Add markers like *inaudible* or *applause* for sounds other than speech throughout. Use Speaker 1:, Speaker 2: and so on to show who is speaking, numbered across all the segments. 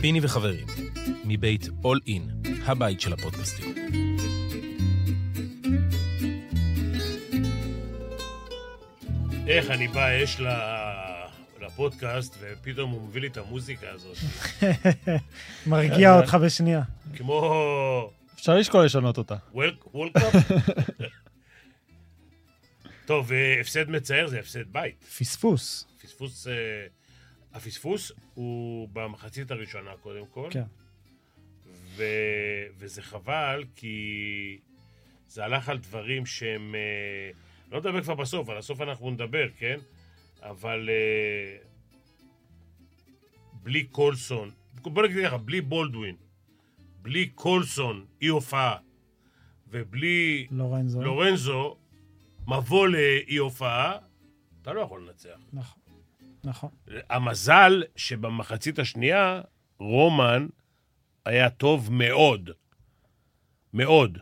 Speaker 1: פיני וחברים, מבית All In, הבית של הפודקאסטים.
Speaker 2: איך אני בא אש ל- לפודקאסט, ופתאום הוא מביא לי את המוזיקה הזאת. *laughs* כן,
Speaker 3: מרגיע
Speaker 2: אה.
Speaker 3: אותך בשנייה.
Speaker 2: כמו
Speaker 4: אפשר לשקול לשנות אותה. *laughs*
Speaker 2: וולקאפ. טוב, אה, הפסד מצער זה הפסד בית.
Speaker 3: פספוס.
Speaker 2: פספוס... אה, הפספוס הוא במחצית הראשונה, קודם כל.
Speaker 3: כן.
Speaker 2: ו... וזה חבל, כי זה הלך על דברים שהם... אה, לא נדבר כבר בסוף, על הסוף אנחנו נדבר, כן? אבל אה, בלי קולסון, בוא נגיד ככה, בלי בולדווין, בלי קולסון, אי הופעה, ובלי
Speaker 3: לורנזו.
Speaker 2: לא. לורנזו, מבוא לאי הופעה, אתה לא יכול לנצח.
Speaker 3: נכון. נכון.
Speaker 2: המזל שבמחצית השנייה רומן היה טוב מאוד. מאוד.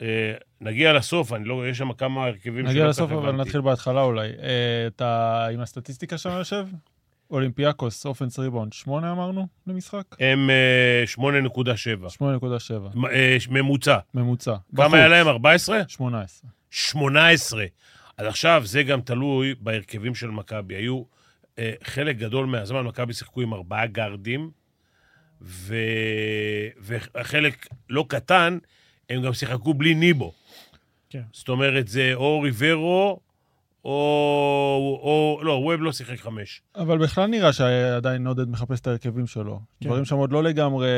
Speaker 2: אה, נגיע לסוף, אני לא, יש שם כמה הרכבים
Speaker 4: נגיע
Speaker 2: שלא
Speaker 4: לסוף,
Speaker 2: כל כך
Speaker 4: אבל
Speaker 2: לא הבנתי.
Speaker 4: נתחיל בהתחלה אולי. אה, אתה עם הסטטיסטיקה שם יושב? אולימפיאקוס, אופנס ריבאונד, 8 אמרנו למשחק?
Speaker 2: הם אה, 8.7,
Speaker 4: 8.7,
Speaker 2: מ- אה, ש- ממוצע.
Speaker 4: ממוצע.
Speaker 2: לא. כמה
Speaker 4: בחוץ,
Speaker 2: היה להם? 14?
Speaker 4: 18.
Speaker 2: 18. אז עכשיו זה גם תלוי בהרכבים של מכבי. היו, אה, חלק גדול מהזמן מכבי שיחקו עם ארבעה גארדים, ו... וחלק לא קטן, הם גם שיחקו בלי ניבו.
Speaker 3: כן.
Speaker 2: זאת אומרת, זה או ריברו, או... או... לא, ווב לא שיחק חמש.
Speaker 4: אבל בכלל נראה שעדיין עודד מחפש את ההרכבים שלו.
Speaker 3: כן.
Speaker 4: דברים שם עוד לא לגמרי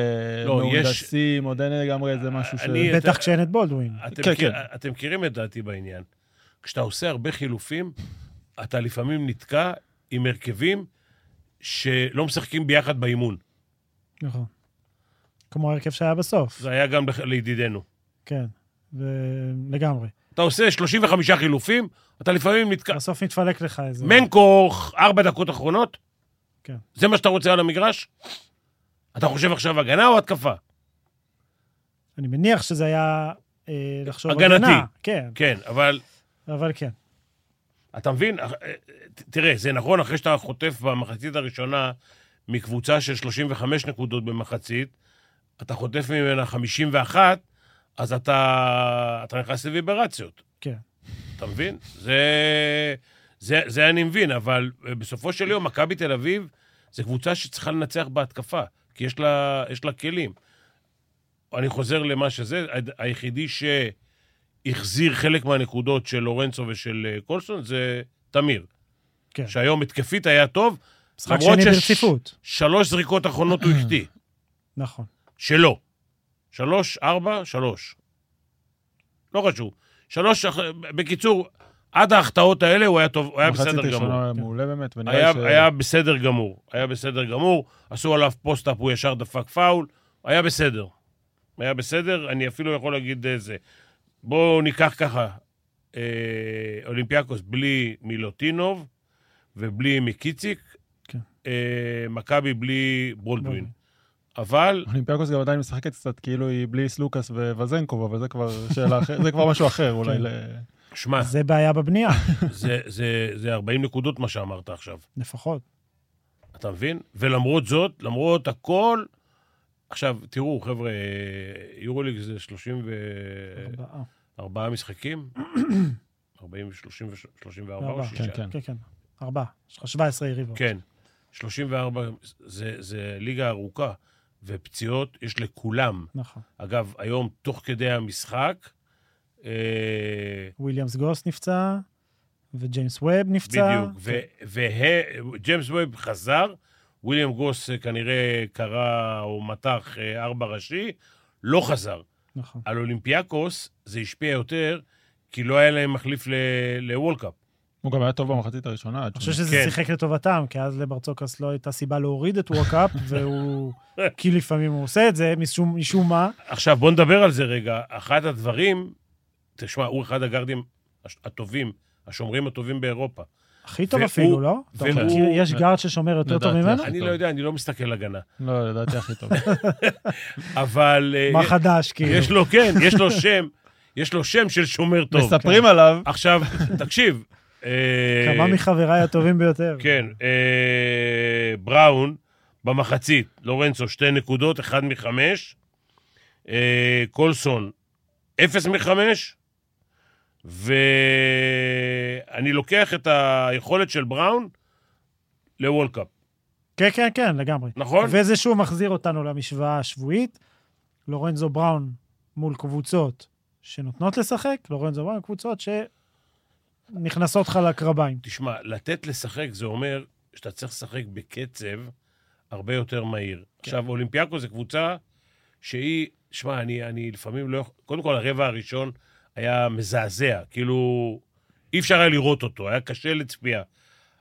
Speaker 2: לא, יש- אה,
Speaker 4: מהונדסים, עוד אין לגמרי איזה משהו ש...
Speaker 2: אני-
Speaker 3: בטח כשאין את בולדווין.
Speaker 2: אתם,
Speaker 4: כן,
Speaker 2: מכיר-
Speaker 4: כן.
Speaker 2: אתם מכירים את דעתי בעניין. כשאתה עושה הרבה חילופים, אתה לפעמים נתקע עם הרכבים שלא משחקים ביחד באימון.
Speaker 3: נכון. כמו ההרכב שהיה בסוף.
Speaker 2: זה היה גם לח- לידידנו.
Speaker 3: כן. ו- לגמרי.
Speaker 2: אתה עושה 35 חילופים, אתה לפעמים נתקע...
Speaker 3: בסוף מתפלק לך איזה...
Speaker 2: מנקו, ארבע דקות אחרונות?
Speaker 3: כן.
Speaker 2: זה מה שאתה רוצה על המגרש? אתה חושב עכשיו הגנה או התקפה?
Speaker 3: אני מניח שזה היה אה, לחשוב
Speaker 2: הגנתי.
Speaker 3: הגנה. כן,
Speaker 2: כן, אבל
Speaker 3: אבל כן.
Speaker 2: אתה מבין? אח- אה, ת- תראה, זה נכון, אחרי שאתה חוטף במחצית הראשונה מקבוצה של 35 נקודות במחצית, אתה חוטף ממנה 51, אז אתה, אתה נכנס לוויברציות.
Speaker 3: כן.
Speaker 2: אתה מבין? זה, זה, זה אני מבין, אבל אה, בסופו של יום, מכבי תל אביב זו קבוצה שצריכה לנצח בהתקפה, כי יש לה, יש לה כלים. אני חוזר למה שזה, הד- היחידי שהחזיר חלק מהנקודות של לורנצו ושל אה, קולסון זה תמיר,
Speaker 3: כן.
Speaker 2: שהיום התקפית היה טוב,
Speaker 3: משחק
Speaker 2: למרות
Speaker 3: שני
Speaker 2: שש-
Speaker 3: ברציפות.
Speaker 2: שלוש זריקות אחרונות הוא החטיא,
Speaker 3: נכון.
Speaker 2: שלו. שלוש, ארבע, שלוש. לא חשוב. שלוש, אח- בקיצור, עד ההחטאות האלה הוא היה טוב, הוא היה
Speaker 4: מחצית
Speaker 2: בסדר גמור.
Speaker 4: ראשונה מעולה באמת, ונראה
Speaker 2: היה,
Speaker 4: ש...
Speaker 2: ש... היה בסדר גמור, היה בסדר גמור, עשו עליו פוסט-אפ, הוא ישר דפק פאול, היה בסדר. היה בסדר, אני אפילו יכול להגיד אה, זה. בואו ניקח ככה, אה, אולימפיאקוס בלי מילוטינוב ובלי מיקיציק,
Speaker 3: כן.
Speaker 2: אה, מכבי בלי בולדווין.
Speaker 3: בולדווין.
Speaker 2: אבל
Speaker 4: אולימפיאקוס גם עדיין משחקת קצת כאילו היא בלי סלוקאס וווזנקוב, אבל זה כבר שאלה אחרת, זה כבר משהו אחר אולי.
Speaker 3: כן.
Speaker 4: ל-
Speaker 2: שמע,
Speaker 3: זה בעיה בבנייה,
Speaker 2: *laughs* זה, זה, זה 40 נקודות מה שאמרת עכשיו.
Speaker 3: לפחות.
Speaker 2: אתה מבין? ולמרות זאת, למרות הכל... עכשיו, תראו, חבר'ה, יורוליג זה 30 ו...
Speaker 3: ארבעה.
Speaker 2: ארבעה משחקים? 40, 30 ו-34 או
Speaker 3: ארבעה.
Speaker 2: שישה?
Speaker 4: כן.
Speaker 3: כן, כן. ארבעה. יש לך 17 יריבות.
Speaker 2: כן. 34 זה, זה ליגה ארוכה, ופציעות יש לכולם.
Speaker 3: נכון.
Speaker 2: אגב, היום, תוך כדי המשחק, אה,
Speaker 3: וויליאמס גוס נפצע, וג'יימס ווב נפצע.
Speaker 2: בדיוק, וג'יימס ווב חזר, וויליאם גוס אה, כנראה קרא או מתח אה, ארבע ראשי, לא חזר.
Speaker 3: נכון.
Speaker 2: על אולימפיאקוס זה השפיע יותר, כי לא היה להם מחליף ל- לוולקאפ.
Speaker 4: הוא גם היה טוב במחצית הראשונה. עד
Speaker 3: אני
Speaker 4: שהוא-
Speaker 3: חושב שזה
Speaker 2: כן.
Speaker 3: שיחק לטובתם, כי אז לברצוקס לא הייתה סיבה להוריד
Speaker 2: *laughs*
Speaker 3: את וואקאפ, והוא... כי לפעמים הוא עושה את זה, משום משום מה.
Speaker 2: עכשיו, בוא נדבר על זה רגע. אחד הדברים, תשמע, הוא אחד הגארדים הש- הטובים, השומרים הטובים באירופה.
Speaker 3: הכי טוב
Speaker 2: והוא-
Speaker 3: אפילו, לא? אתה
Speaker 2: והוא-
Speaker 3: מכיר- יש גארד ששומר יותר טוב
Speaker 4: לדעתי.
Speaker 3: ממנו?
Speaker 2: אני
Speaker 4: טוב.
Speaker 2: לא יודע, אני לא מסתכל הגנה.
Speaker 4: לא, לדעתי הכי טוב.
Speaker 2: אבל... אה,
Speaker 3: מה
Speaker 2: יש-
Speaker 3: חדש, כאילו?
Speaker 2: יש לו, כן, יש לו שם, יש לו שם של שומר *laughs* טוב. כן.
Speaker 4: מספרים עליו,
Speaker 2: עכשיו, תקשיב. אה,
Speaker 3: כמה מחבריי הטובים ביותר.
Speaker 2: כן, אה, בראון, במחצית. לורנצו, שתי נקודות, אחד מחמש. אה, קולסון, אפס מחמש. ואני לוקח את היכולת של בראון לוולקאפ,
Speaker 3: כן, כן, כן, לגמרי.
Speaker 2: נכון?
Speaker 3: וזה שוב מחזיר אותנו למשוואה השבועית. לורנזו בראון מול קבוצות שנותנות לשחק, לורנזו בראון קבוצות שנכנסות לך לקרביים.
Speaker 2: תשמע, לתת לשחק זה אומר שאתה צריך לשחק בקצב הרבה יותר מהיר. עכשיו, אולימפיאקו זו קבוצה שהיא, שמע, אני, אני לפעמים לא יכול... קודם כל, הרבע הראשון היה מזעזע, כאילו, אי אפשר היה לראות אותו, היה קשה לצפייה.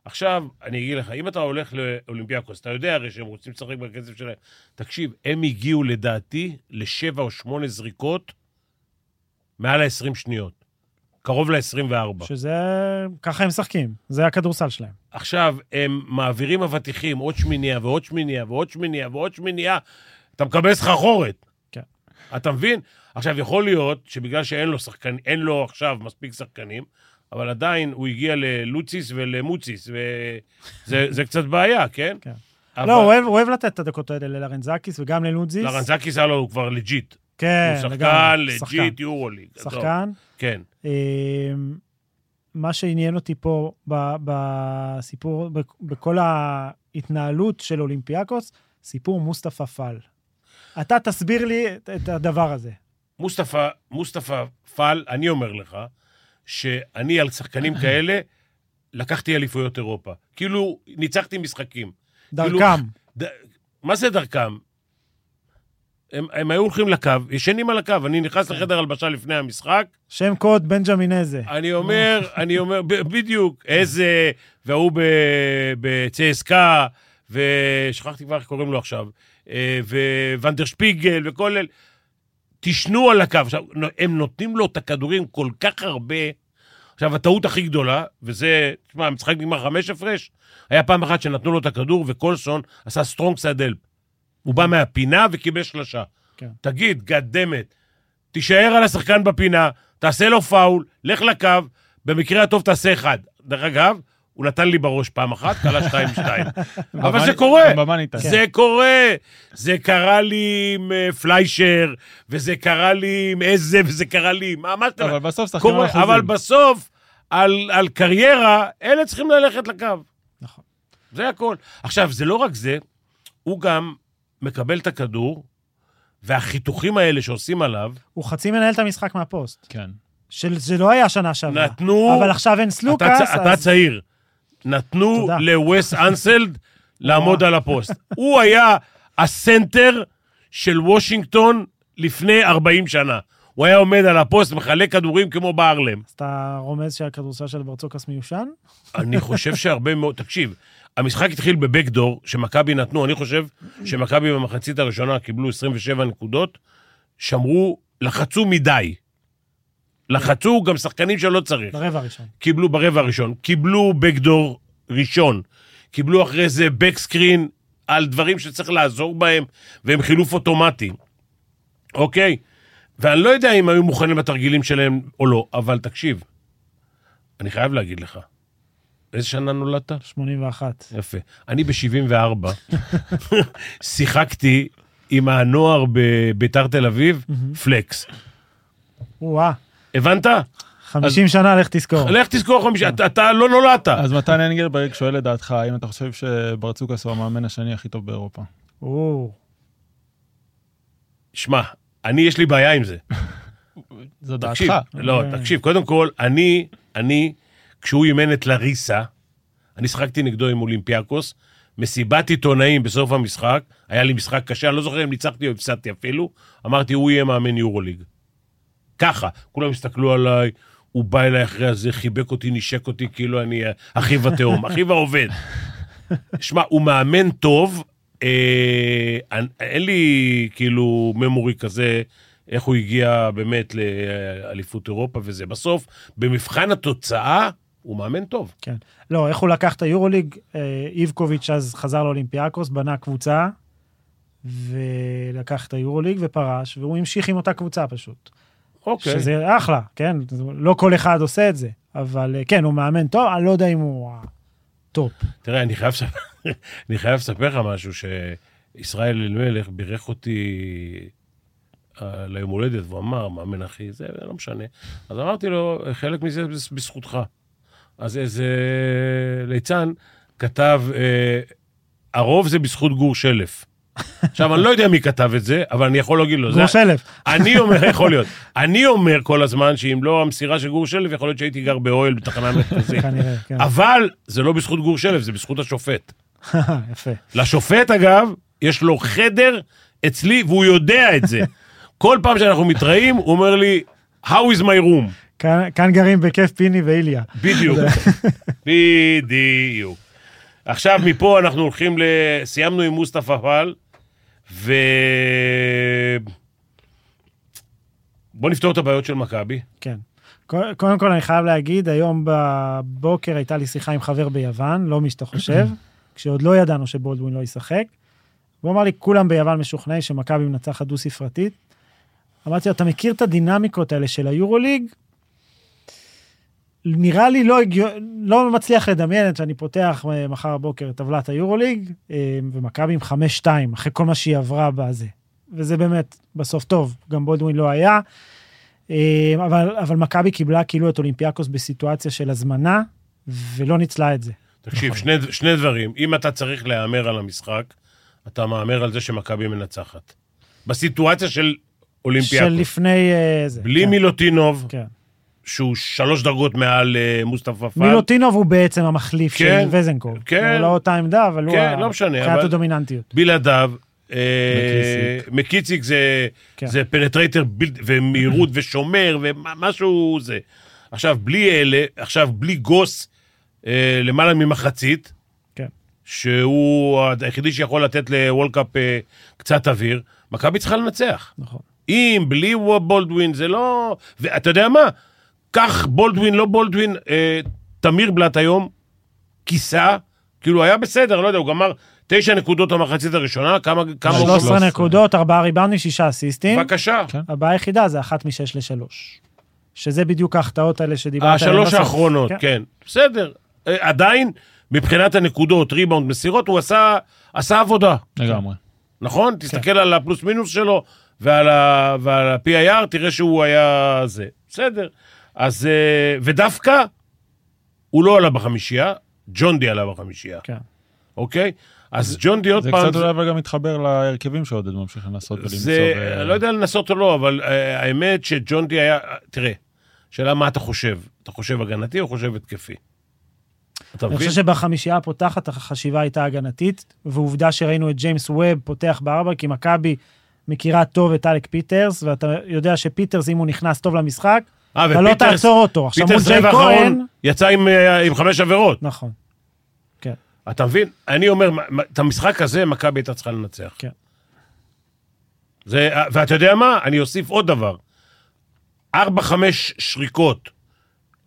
Speaker 2: עכשיו, אני אגיד לך, אם אתה הולך לאולימפיאקוס, אתה יודע הרי שהם רוצים לשחק בקצב שלהם. תקשיב, הם הגיעו לדעתי לשבע או שמונה זריקות מעל ה-20 שניות. קרוב ל-24.
Speaker 3: שזה... ככה הם משחקים, זה הכדורסל שלהם.
Speaker 2: עכשיו, הם מעבירים אבטיחים עוד שמיניה ועוד שמיניה ועוד שמיניה ועוד שמיניה, אתה מקבל סחרחורת.
Speaker 3: כן.
Speaker 2: אתה מבין? עכשיו, יכול להיות שבגלל שאין לו, שחקן, אין לו עכשיו מספיק שחקנים, אבל עדיין הוא הגיע ללוציס ולמוציס, וזה זה קצת בעיה, כן?
Speaker 3: כן.
Speaker 2: אבל...
Speaker 3: לא, הוא אוהב- הוא אוהב לתת את הדקות האלה ללרנזקיס וגם ללודזיס.
Speaker 2: לרנזקיס הלו הוא כבר לג'יט.
Speaker 3: כן,
Speaker 2: הוא שחקן
Speaker 3: לגמרי,
Speaker 2: לג'יט יורוליג. עזוב.
Speaker 3: שחקן.
Speaker 2: כן.
Speaker 3: אמ, מה שעניין אותי פה ב- בסיפור, ב- בכל ההתנהלות של אולימפיאקוס, סיפור מוסטפא פאל. אתה תסביר לי את- את הדבר הזה.
Speaker 2: מוסטפא, מוסטפא פאל, אני אומר לך, שאני על שחקנים כאלה לקחתי אליפויות אירופה. כאילו, ניצחתי משחקים. כאילו-
Speaker 3: דרכם.
Speaker 2: ד... מה זה דרכם? הם, הם היו הולכים לקו, ישנים על הקו, אני נכנס לחדר הלבשה לפני המשחק,
Speaker 3: שם קוד בנג'מין איזה.
Speaker 2: אני אומר, אני אומר, ב- בדיוק, איזה, וההוא ב- בצסקה, ושכחתי כבר איך קוראים לו עכשיו, אה, וונדר שפיגל וכל אל... תשנו על הקו. עכשיו, נו- הם נותנים לו את הכדורים כל כך הרבה. עכשיו, הטעות הכי גדולה, וזה, תשמע, המשחק נגמר חמש הפרש, היה פעם אחת שנתנו לו את הכדור, וקולסון עשה סטרונג סדל. הוא בא מהפינה וקיבל שלשה.
Speaker 3: כן.
Speaker 2: תגיד, גדמת, תישאר על השחקן בפינה, תעשה לו פאול, לך לקו, במקרה הטוב תעשה אחד. דרך אגב, הוא נתן לי בראש פעם אחת, כלה שתיים שתיים. אבל זה קורה.
Speaker 4: במה ניתן.
Speaker 2: זה קורה. זה קרה לי עם אה, פליישר, וזה קרה לי עם איזה, וזה קרה לי עם... מה- מה שאתה...
Speaker 4: אבל בסוף שחקנים על
Speaker 2: קורה,
Speaker 4: אחוזים.
Speaker 2: אבל בסוף, על, על קריירה, אלה צריכים ללכת לקו.
Speaker 3: נכון.
Speaker 2: זה הכל. עכשיו, זה לא רק זה, הוא גם מקבל את הכדור, והחיתוכים האלה שעושים עליו,
Speaker 3: הוא חצי מנהל את המשחק מהפוסט.
Speaker 4: כן.
Speaker 3: של- זה לא היה שנה שעברה.
Speaker 2: נתנו...
Speaker 3: אבל עכשיו אין סלוקאס,
Speaker 2: אתה, צ- אתה
Speaker 3: אז...
Speaker 2: צעיר. נתנו
Speaker 3: תודה.
Speaker 2: לווס
Speaker 3: *laughs*
Speaker 2: אנסלד לעמוד על הפוסט. הוא היה הסנטר של וושינגטון לפני 40 שנה. הוא היה עומד על הפוסט, מחלק כדורים כמו בארלם.
Speaker 3: אז אתה רומז שהכדורסל של ברצוקס מיושן?
Speaker 2: אני חושב שהרבה מאוד... תקשיב, המשחק התחיל בבקדור, שמכבי נתנו, אני חושב שמכבי במחצית הראשונה קיבלו 27 נקודות, שמרו, לחצו מדי. לחצו גם שחקנים שלא צריך.
Speaker 3: ברבע הראשון.
Speaker 2: קיבלו ברבע הראשון, קיבלו בקדור ראשון, קיבלו אחרי זה בקסקרין על דברים שצריך לעזור בהם, והם חילוף אוטומטי, אוקיי? ואני לא יודע אם היו מוכנים לתרגילים שלהם או לא, אבל תקשיב, אני חייב להגיד לך, איזה שנה נולדת?
Speaker 3: 81.
Speaker 2: יפה. אני ב-74 *laughs* שיחקתי עם הנוער בביתר תל אביב, פלקס.
Speaker 3: או-אה,
Speaker 2: הבנת?
Speaker 3: 50 שנה, לך
Speaker 2: *laughs*
Speaker 3: תזכור.
Speaker 2: לך תזכור חמישה, אתה- אתה לא נולדת.
Speaker 4: אז מתן אנגלברג שואל לדעתך, האם אתה חושב שברצוקס הוא המאמן השני הכי טוב באירופה?
Speaker 3: או,
Speaker 2: שמע, אני יש לי בעיה עם זה.
Speaker 4: זו
Speaker 2: תקשיב,
Speaker 4: דעתך.
Speaker 2: לא,
Speaker 3: אה.
Speaker 2: תקשיב, קודם כל, אני, אני, כשהוא אימן את לריסה, אני שחקתי נגדו עם אולימפיאקוס, מסיבת עיתונאים בסוף המשחק, היה לי משחק קשה, אני לא זוכר אם ניצחתי או הפסדתי אפילו, אמרתי, הוא יהיה מאמן יורוליג. ככה, כולם הסתכלו עליי, הוא בא אליי אחרי הזה, חיבק אותי, נשק אותי, כאילו אני אחיו התאום, אחיו
Speaker 4: *laughs*
Speaker 2: העובד. שמע, הוא מאמן טוב, אה, אין- אין לי כאילו ממורי כזה, איך הוא הגיע באמת לאליפות אירופה וזה. בסוף, במבחן התוצאה, הוא מאמן טוב.
Speaker 3: כן. לא, איך הוא לקח את היורוליג? אה, איבקוביץ' אז חזר לאולימפיאקוס, בנה קבוצה, ולקח את היורוליג ופרש, והוא המשיך עם אותה קבוצה פשוט.
Speaker 2: אוקיי.
Speaker 3: שזה אחלה, כן? זה- לא כל אחד עושה את זה, אבל אה, כן, הוא מאמן טוב, אני לא יודע אם הוא הטופ.
Speaker 2: תראה, אני חייב לספר, *laughs* אני חייב לספר לך משהו, שישראל אלימלך בירך אותי אה, ליום הולדת, והוא אמר, מאמן אחי, זה זה לא משנה. אז אמרתי לו, חלק מזה בז- בזכותך. אז איזה ליצן כתב, אה, הרוב זה בזכות גור שלף. עכשיו, אני לא יודע מי כתב את זה, אבל אני יכול להגיד לו. זה-
Speaker 3: גור שלף.
Speaker 2: *laughs* אני אומר, יכול להיות. אני אומר כל הזמן שאם לא המסירה של גור שלף, יכול להיות שהייתי גר באוהל בתחנה המרכזית.
Speaker 3: *laughs* כנראה, כן.
Speaker 2: אבל זה לא בזכות גור שלף, זה בזכות השופט.
Speaker 3: יפה.
Speaker 2: לשופט, אגב, יש לו חדר אצלי, והוא יודע את זה. כל פעם שאנחנו מתראים, הוא אומר לי, How is my room?
Speaker 3: כאן- כאן גרים בכיף פיני ואיליה.
Speaker 2: בדיוק. *laughs* בדיוק. עכשיו, מפה אנחנו הולכים ל... סיימנו עם מוסטפא פאל, ו... בוא נפתור את הבעיות של מכבי.
Speaker 3: כן. קו- קודם כל, אני חייב להגיד, היום בבוקר הייתה לי שיחה עם חבר ביוון, לא מי שאתה חושב, כשעוד לא ידענו שבולדווין לא ישחק. הוא אמר לי, כולם ביוון משוכנעים שמכבי מנצחת דו-ספרתית. אמרתי לו, אתה מכיר את הדינמיקות האלה של היורוליג? נראה לי לא, הגיע... לא מצליח לדמיין את שאני פותח אה, מחר בבוקר את טבלת היורוליג, אה, ומכבי עם 5-2, אחרי כל מה שהיא עברה בזה. וזה באמת, בסוף טוב, גם בולדווין לא היה. אה, אבל, אבל מכבי קיבלה כאילו את אולימפיאקוס בסיטואציה של הזמנה, ולא ניצלה את זה. נכון.
Speaker 2: תקשיב, שני, שני דברים. אם אתה צריך להמר על המשחק, אתה מהמר על זה שמכבי מנצחת. בסיטואציה של
Speaker 3: של
Speaker 2: אולימפיאקוס.
Speaker 3: לפני אה, זה.
Speaker 2: בלי
Speaker 3: כן,
Speaker 2: מילוטינוב,
Speaker 3: כן.
Speaker 2: שהוא שלוש דרגות מעל אה, מוסטפא פאל.
Speaker 3: מילוטינוב הוא בעצם המחליף
Speaker 2: כן,
Speaker 3: של וזנקוב.
Speaker 2: כן.
Speaker 3: הוא לא אותה עמדה, אבל הוא...
Speaker 2: כן,
Speaker 3: ה-
Speaker 2: לא משנה,
Speaker 3: מבחינת
Speaker 2: אבל-
Speaker 3: הדומיננטיות.
Speaker 2: בלעדיו. אה, מקיציק זה,
Speaker 3: כן.
Speaker 2: זה פנטרייטר בלתי- ומהירות ושומר ומשהו זה. עכשיו, בלי אלה, עכשיו, בלי גוס אה, למעלה ממחצית,
Speaker 3: כן.
Speaker 2: שהוא היחידי שיכול לתת לוולקאפ אה, קצת אוויר, מכבי צריכה לנצח.
Speaker 3: נכון.
Speaker 2: אם, בלי בולדווין, זה לא... ואתה יודע מה? קח בולדווין, לא בולדווין, אה, תמיר בלאט היום כיסה, כאילו היה בסדר, לא יודע, הוא גמר תשע נקודות המחצית הראשונה, כמה... כמה הוא... לא
Speaker 3: 13
Speaker 4: 13.
Speaker 3: נקודות, 4 ריבאונים, 6 אסיסטים.
Speaker 2: בבקשה.
Speaker 4: כן.
Speaker 3: הבעיה היחידה זה אחת משש לשלוש. שזה בדיוק ההחטאות האלה שדיברת עליהן.
Speaker 2: השלוש
Speaker 3: בסוף.
Speaker 2: אה, האחרונות, כן. בסדר. אה, עדיין, מבחינת הנקודות, ריבאונד, מסירות, הוא עשה, עשה עבודה,
Speaker 4: לגמרי.
Speaker 3: כן.
Speaker 2: נכון? תסתכל על הפלוס מינוס שלו ועל, ה, ועל ה-PIR, תראה שהוא היה זה. בסדר. אז... אה, ודווקא, הוא לא עלה בחמישייה, ג'ון די עלה בחמישייה,
Speaker 3: כן.
Speaker 2: אוקיי? אז ג'ון די עוד
Speaker 4: זה
Speaker 2: פעם...
Speaker 3: לא
Speaker 4: קצת אולי אבל גם מתחבר להרכבים שעודד ממשיך לנסות ולמצוא.
Speaker 2: זה,
Speaker 3: אה,
Speaker 4: ו-
Speaker 2: אני לא יודע לנסות או לא, אבל אה, האמת שג'ון די היה, תראה, שאלה מה אתה חושב, אתה חושב הגנתי או חושב התקפי? אתה
Speaker 3: אני
Speaker 2: מבין?
Speaker 3: חושב שבחמישייה הפותחת החשיבה הייתה הגנתית, ועובדה שראינו את ג'יימס ווב פותח בארבע, כי מכבי מכירה טוב את אלק פיטרס, ואתה יודע שפיטרס, אם הוא נכנס טוב למשחק,
Speaker 2: אה,
Speaker 3: אתה לא
Speaker 2: ופיטרס-
Speaker 3: תעצור אותו. עכשיו מול
Speaker 2: פיטרס
Speaker 3: ג'יי
Speaker 2: רבע
Speaker 3: כהן...
Speaker 2: האחרון יצא עם, אה, עם חמש עבירות,
Speaker 3: נכון.
Speaker 2: אתה מבין? אני אומר, מה- מה- את המשחק הזה מכבי הייתה צריכה לנצח.
Speaker 3: כן.
Speaker 2: זה, אה, ואתה יודע מה? אני אוסיף עוד דבר. ארבע, חמש שריקות,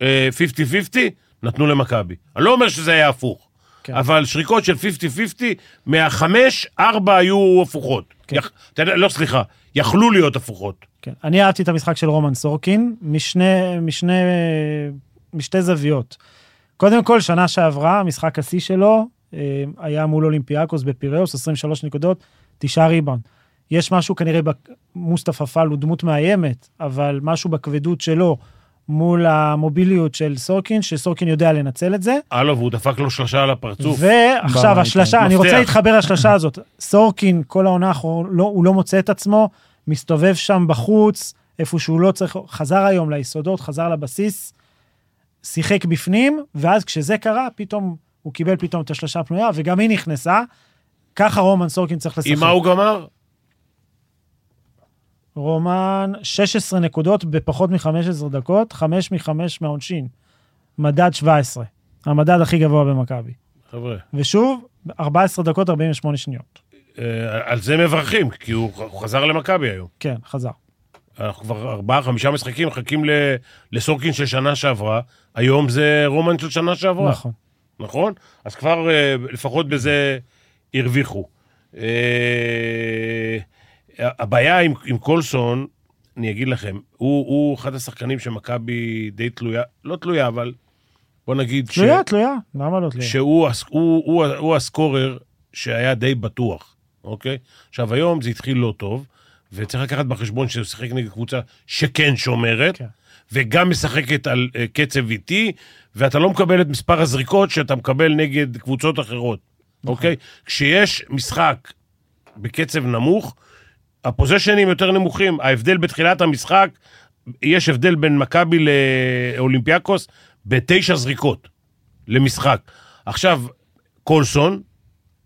Speaker 2: אה, 50-50, נתנו למכבי. אני לא אומר שזה היה הפוך.
Speaker 3: כן.
Speaker 2: אבל שריקות של 50-50, מהחמש, ארבע היו הפוכות.
Speaker 3: כן.
Speaker 2: יח, אתה יודע, לא, סליחה, יכלו להיות הפוכות.
Speaker 3: כן. אני אהבתי את המשחק של רומן סורקין משני, משני, משתי זוויות. קודם כל, שנה שעברה, משחק השיא שלו אה, היה מול אולימפיאקוס בפיראוס, 23 נקודות, תשעה ריבאונד. יש משהו כנראה, בק- מוסטפא פאל הוא דמות מאיימת, אבל משהו בכבדות שלו מול המוביליות של סורקין, שסורקין יודע לנצל את זה.
Speaker 2: הלו, והוא דפק לו שלושה על הפרצוף.
Speaker 3: ועכשיו
Speaker 4: ברור,
Speaker 3: השלשה,
Speaker 4: כן.
Speaker 3: אני רוצה
Speaker 2: מפתח.
Speaker 3: להתחבר לשלשה הזאת. סורקין, כל העונה, האחרונה, לא- הוא לא מוצא את עצמו, מסתובב שם בחוץ, איפה שהוא לא צריך, חזר היום ליסודות, חזר לבסיס, שיחק בפנים, ואז כשזה קרה, פתאום הוא קיבל פתאום את השלשה הפנויה, וגם היא נכנסה. ככה רומן סורקין צריך לשחק.
Speaker 2: עם מה הוא גמר?
Speaker 3: רומן, 16 נקודות בפחות מ-15 דקות, 5 מ-5 מהעונשין. מדד 17, המדד הכי גבוה במכבי.
Speaker 2: חבר'ה,
Speaker 3: ושוב, 14 דקות 48 שניות.
Speaker 2: אה, על זה מברכים, כי הוא הוא חזר למכבי היום.
Speaker 3: כן, חזר.
Speaker 2: אנחנו כבר ארבעה, חמישה משחקים מחכים ל- לסורקין של שנה שעברה, היום זה רומן של שנה שעברה.
Speaker 3: נכון.
Speaker 2: נכון? אז כבר אה, לפחות בזה הרוויחו. אה, הבעיה עם, עם קולסון, אני אגיד לכם, הוא, הוא אחד השחקנים שמכבי די תלויה, לא תלויה, אבל בוא נגיד ש...
Speaker 3: תלויה, תלויה. למה לא תלויה?
Speaker 2: שהוא הס- הוא- הוא ה- הוא הסקורר שהיה די בטוח, אוקיי? עכשיו, היום זה התחיל לא טוב, וצריך לקחת בחשבון שהוא שיחק נגד קבוצה שכן שומרת,
Speaker 3: כן.
Speaker 2: וגם משחקת על אה, קצב איטי, ואתה לא מקבל את מספר הזריקות שאתה מקבל נגד קבוצות אחרות,
Speaker 3: נכון.
Speaker 2: אוקיי? כשיש משחק בקצב נמוך, הפוזיישנים יותר נמוכים. ההבדל בתחילת המשחק, יש הבדל בין מכבי לאולימפיאקוס בתשע זריקות למשחק. עכשיו, קולסון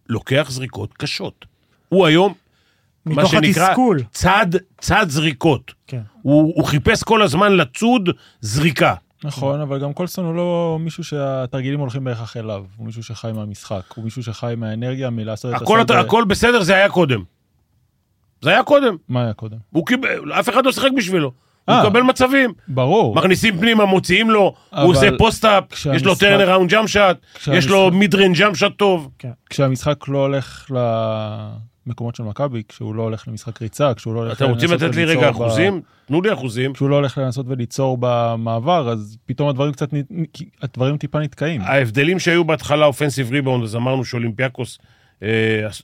Speaker 2: לוקח זריקות קשות. הוא היום, מה
Speaker 3: מתוך
Speaker 2: שנקרא,
Speaker 3: התסכול.
Speaker 2: צד, צד זריקות.
Speaker 3: כן.
Speaker 2: הוא, הוא חיפש כל הזמן לצוד זריקה.
Speaker 4: נכון, אבל גם קולסון הוא לא מישהו שהתרגילים הולכים בהכרח אליו. הוא מישהו שחי מהמשחק, הוא מישהו שחי מהאנרגיה, מלעשות את
Speaker 2: הכל,
Speaker 4: הסל ב-
Speaker 2: הכל בסדר, זה היה קודם. זה היה קודם.
Speaker 4: מה היה קודם?
Speaker 2: הוא קיבל, אף אחד לא שיחק בשבילו. הוא
Speaker 4: אה.
Speaker 2: מקבל מצבים.
Speaker 4: ברור.
Speaker 2: מכניסים פנימה, מוציאים לו,
Speaker 4: אבל
Speaker 2: הוא עושה פוסט-אפ, יש לו
Speaker 4: כשהמשחק-
Speaker 2: טרן אראונד ג'אם שאט, יש לו מיד ריינג' ג'אם שאט טוב.
Speaker 4: כשהמשחק לא הולך למקומות של מכבי, כשהוא לא הולך למשחק ריצה, כשהוא לא הולך...
Speaker 2: אתם רוצים
Speaker 4: לנסות
Speaker 2: לתת לי
Speaker 4: וליצור
Speaker 2: רגע
Speaker 4: ב-
Speaker 2: אחוזים? תנו לי אחוזים.
Speaker 4: כשהוא לא הולך לנסות וליצור במעבר, אז פתאום הדברים קצת... נ- כי הדברים טיפה נתקעים.
Speaker 2: ההבדלים שהיו בהתחלה אופנסיב ריבאונד, אז אמרנו שאולימפיאקוס אה,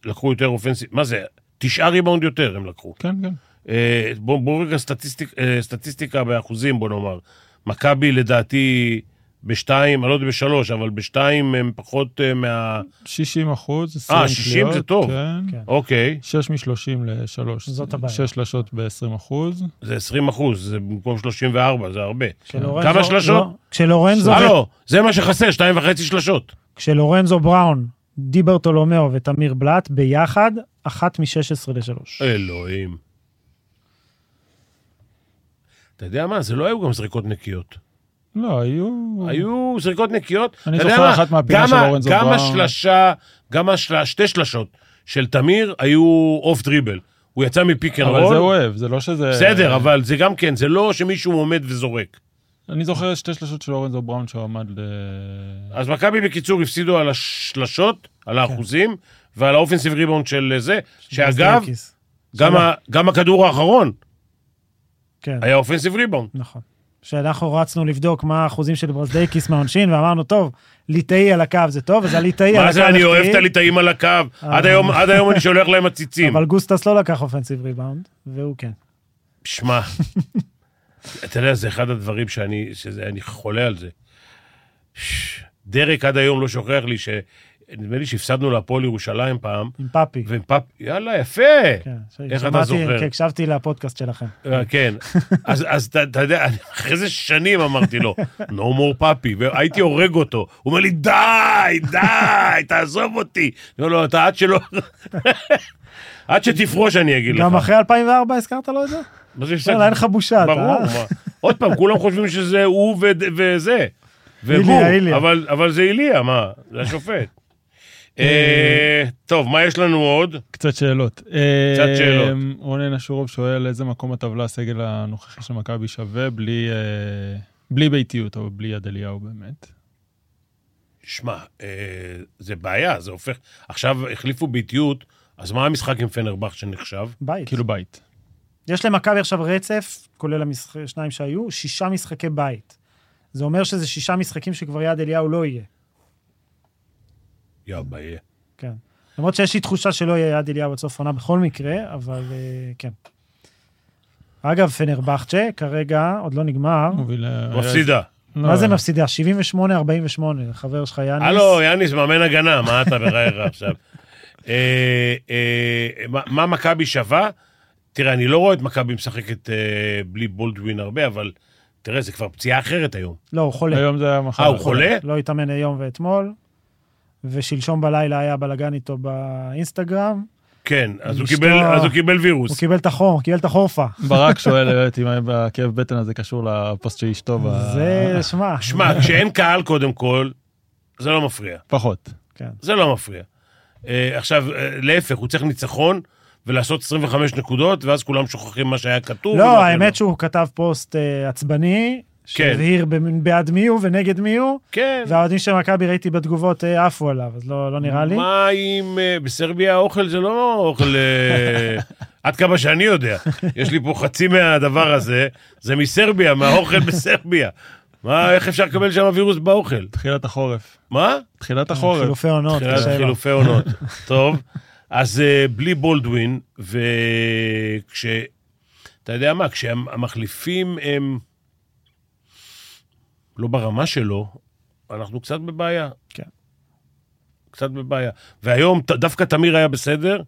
Speaker 2: לקחו יותר אופנסיב, מה זה? תשעה ריבאונד יותר הם לקחו.
Speaker 4: כן, כן.
Speaker 2: אה, בואו בוא רגע סטטיסטיק, אה, סטטיסטיקה באחוזים, בוא נאמר. מכבי לדעתי בשתיים, אני לא יודע בשלוש, אבל בשתיים הם פחות אה, מה...
Speaker 4: 60 אחוז, 20
Speaker 2: אה, 60 זה
Speaker 4: קליעות,
Speaker 2: טוב.
Speaker 4: כן.
Speaker 3: כן.
Speaker 2: אוקיי,
Speaker 4: 6 מ-30 ל-3.
Speaker 3: זאת הבעיה.
Speaker 4: 6 שלשות ב-20 אחוז.
Speaker 2: זה 20 אחוז, זה במקום 34, זה הרבה.
Speaker 3: כשלורנזו-
Speaker 2: כמה שלשות?
Speaker 3: לא, כשלורנזו-
Speaker 2: הלו, זה מה שחסר, שתיים וחצי שלשות.
Speaker 3: כשלורנזו בראון, די ברטולומיאו ותמיר בלאט ביחד, אחת מ-16 ל-3.
Speaker 2: אלוהים. אתה יודע מה, זה לא היו גם זריקות נקיות.
Speaker 4: לא, היו...
Speaker 2: היו זריקות נקיות.
Speaker 4: אני
Speaker 2: אתה יודע
Speaker 4: זוכר
Speaker 2: מה?
Speaker 4: אחת מהפינה
Speaker 2: גם
Speaker 4: של
Speaker 2: ה-
Speaker 4: אורנזו
Speaker 2: גם
Speaker 4: בראון.
Speaker 2: השלשה, גם השל- שתי שלשות של תמיר היו אוף דריבל. הוא יצא מפיק אנד
Speaker 4: אבל זה
Speaker 2: רול.
Speaker 4: אוהב, זה לא שזה...
Speaker 2: בסדר, אבל זה גם כן, זה לא שמישהו עומד וזורק.
Speaker 4: אני זוכר שתי שלשות של אורנזו בראון שעמד אה, ל...
Speaker 2: אז מכבי בקיצור הפסידו על השלשות, על האחוזים, ועל האופנסיב ריבאונד של אה, זה, שאגב,
Speaker 3: זרקיס.
Speaker 2: גם ה- גם הכדור האחרון
Speaker 3: כן,
Speaker 2: היה אופנסיב ריבאונד.
Speaker 3: נכון. כשאנחנו רצנו לבדוק מה האחוזים של ברזדייקיס מהעונשין, ואמרנו, טוב, ליטאי על הקו זה טוב, אז הליטאי על הקו...
Speaker 2: מה זה, אני אוהב
Speaker 3: החטיא,
Speaker 2: את הליטאים על הקו, עד
Speaker 4: אה.
Speaker 2: היום- עד היום אני שולח להם עציצים.
Speaker 3: אבל גוסטס לא לקח אופנסיב ריבאונד, והוא כן.
Speaker 2: שמע, אתה יודע, זה אחד הדברים שאני, שזה, אני חולה על זה. ש- דרק עד היום לא שוכח לי ש... נדמה לי שהפסדנו להפועל ירושלים פעם,
Speaker 3: עם פאפי.
Speaker 2: ופאפ... יאללה, יפה!
Speaker 3: כן,
Speaker 2: איך אתה
Speaker 3: שמעתי-
Speaker 2: זוכר?
Speaker 3: כי הקשבתי לפודקאסט שלכם.
Speaker 2: אה, כן. אז אז אתה אתה יודע, אני- אחרי זה שנים אמרתי לו, no more puppy, והייתי הורג אותו. הוא אומר לי, די, די, תעזוב אותי. אני אומר לו, אתה עד שלא... *laughs* עד שתפרוש אני אגיד לך.
Speaker 3: גם אחרי 2004 הזכרת לו את זה?
Speaker 2: מה זה הפסקתי?
Speaker 3: וואלה, אין לך בושה, אתה...
Speaker 2: ברור,
Speaker 3: אה?
Speaker 2: מה. עוד פעם, כולם חושבים שזה הוא וד- וזה. וגור,
Speaker 3: איליה, איליה.
Speaker 2: אבל, אבל זה איליה, מה? זה
Speaker 3: *laughs*
Speaker 2: השופט. אה, טוב, מה יש לנו עוד?
Speaker 4: קצת שאלות.
Speaker 2: קצת שאלות.
Speaker 4: אה, רונן אשורוב שואל איזה מקום בטבלה הסגל הנוכחי של מכבי שווה בלי, אה, בלי ביתיות או בלי יד אליהו באמת.
Speaker 2: שמע, אה, זה בעיה, זה הופך... עכשיו החליפו ביטיות, אז מה המשחק עם פנרבך שנחשב?
Speaker 3: בית.
Speaker 4: כאילו בית.
Speaker 3: יש למכבי עכשיו רצף, כולל השניים שהיו, שישה משחקי בית. זה אומר שזה שישה משחקים שכבר יד אליהו לא יהיה.
Speaker 2: יא בעיה.
Speaker 3: כן. למרות שיש לי תחושה שלא יהיה יד אליהו עד סוף עונה בכל מקרה, אבל אה, כן. אגב, פנרבחצ'ה, כרגע עוד לא נגמר.
Speaker 4: מוביל... אה,
Speaker 2: מפסידה.
Speaker 4: לא,
Speaker 3: מה זה
Speaker 4: אה,
Speaker 3: מפסידה? 78-48, חבר שלך יאניס.
Speaker 2: הלו, יאניס, מאמן הגנה, מה אתה מראייר עכשיו? אה, אה, מה- מה מכבי שווה? תראה, אני לא רואה את מכבי משחקת אה, בלי בולדווין הרבה, אבל תראה, זה כבר פציעה אחרת היום.
Speaker 3: לא, הוא חולה.
Speaker 4: היום זה היה מחר.
Speaker 2: אה, הוא חולה?
Speaker 3: לא התאמן היום ואתמול, ושלשום בלילה היה בלאגן איתו באינסטגרם.
Speaker 2: כן, אז הוא
Speaker 3: אשתו-
Speaker 2: קיבל- אז הוא קיבל
Speaker 3: הוא
Speaker 2: וירוס.
Speaker 3: קיבל את החור, הוא קיבל את החורפה.
Speaker 4: ברק שואל באמת אם הכאב בטן הזה קשור לפוסט של אשתו. ב-
Speaker 3: זה, שמע,
Speaker 2: שמע, כשאין קהל קודם כל, זה לא מפריע.
Speaker 4: פחות.
Speaker 3: כן.
Speaker 2: זה לא מפריע. אה, עכשיו, אה, להפך, הוא צריך ניצחון ולעשות 25 נקודות, ואז כולם שוכחים מה שהיה כתוב.
Speaker 3: לא,
Speaker 2: ומה
Speaker 3: האמת
Speaker 2: שלא.
Speaker 3: שהוא כתב פוסט אה, עצבני,
Speaker 2: כן.
Speaker 3: שהבהיר במ- בעד מי הוא ונגד מי הוא,
Speaker 2: כן.
Speaker 3: והאוהדים של מכבי ראיתי בתגובות אה, עפו עליו, אז לא לא נראה לי.
Speaker 2: מה אם אה, בסרביה האוכל זה לא אוכל... אה, עד כמה שאני יודע. יש לי פה חצי מהדבר הזה, זה מסרביה, מהאוכל בסרביה. מה, איך אפשר לקבל שם וירוס באוכל?
Speaker 4: תחילת החורף.
Speaker 2: מה?
Speaker 3: אה,
Speaker 4: תחילת החורף.
Speaker 3: חילופי עונות.
Speaker 2: תחילת
Speaker 3: קשה לו.
Speaker 2: כן, חילופי
Speaker 3: *laughs*
Speaker 2: עונות. טוב, אז אה, בלי בולדווין, וכש... אתה יודע מה, כשהמחליפים הם לא ברמה שלו, אנחנו קצת בבעיה.
Speaker 3: כן.
Speaker 2: קצת בבעיה. והיום ת- דווקא תמיר היה בסדר,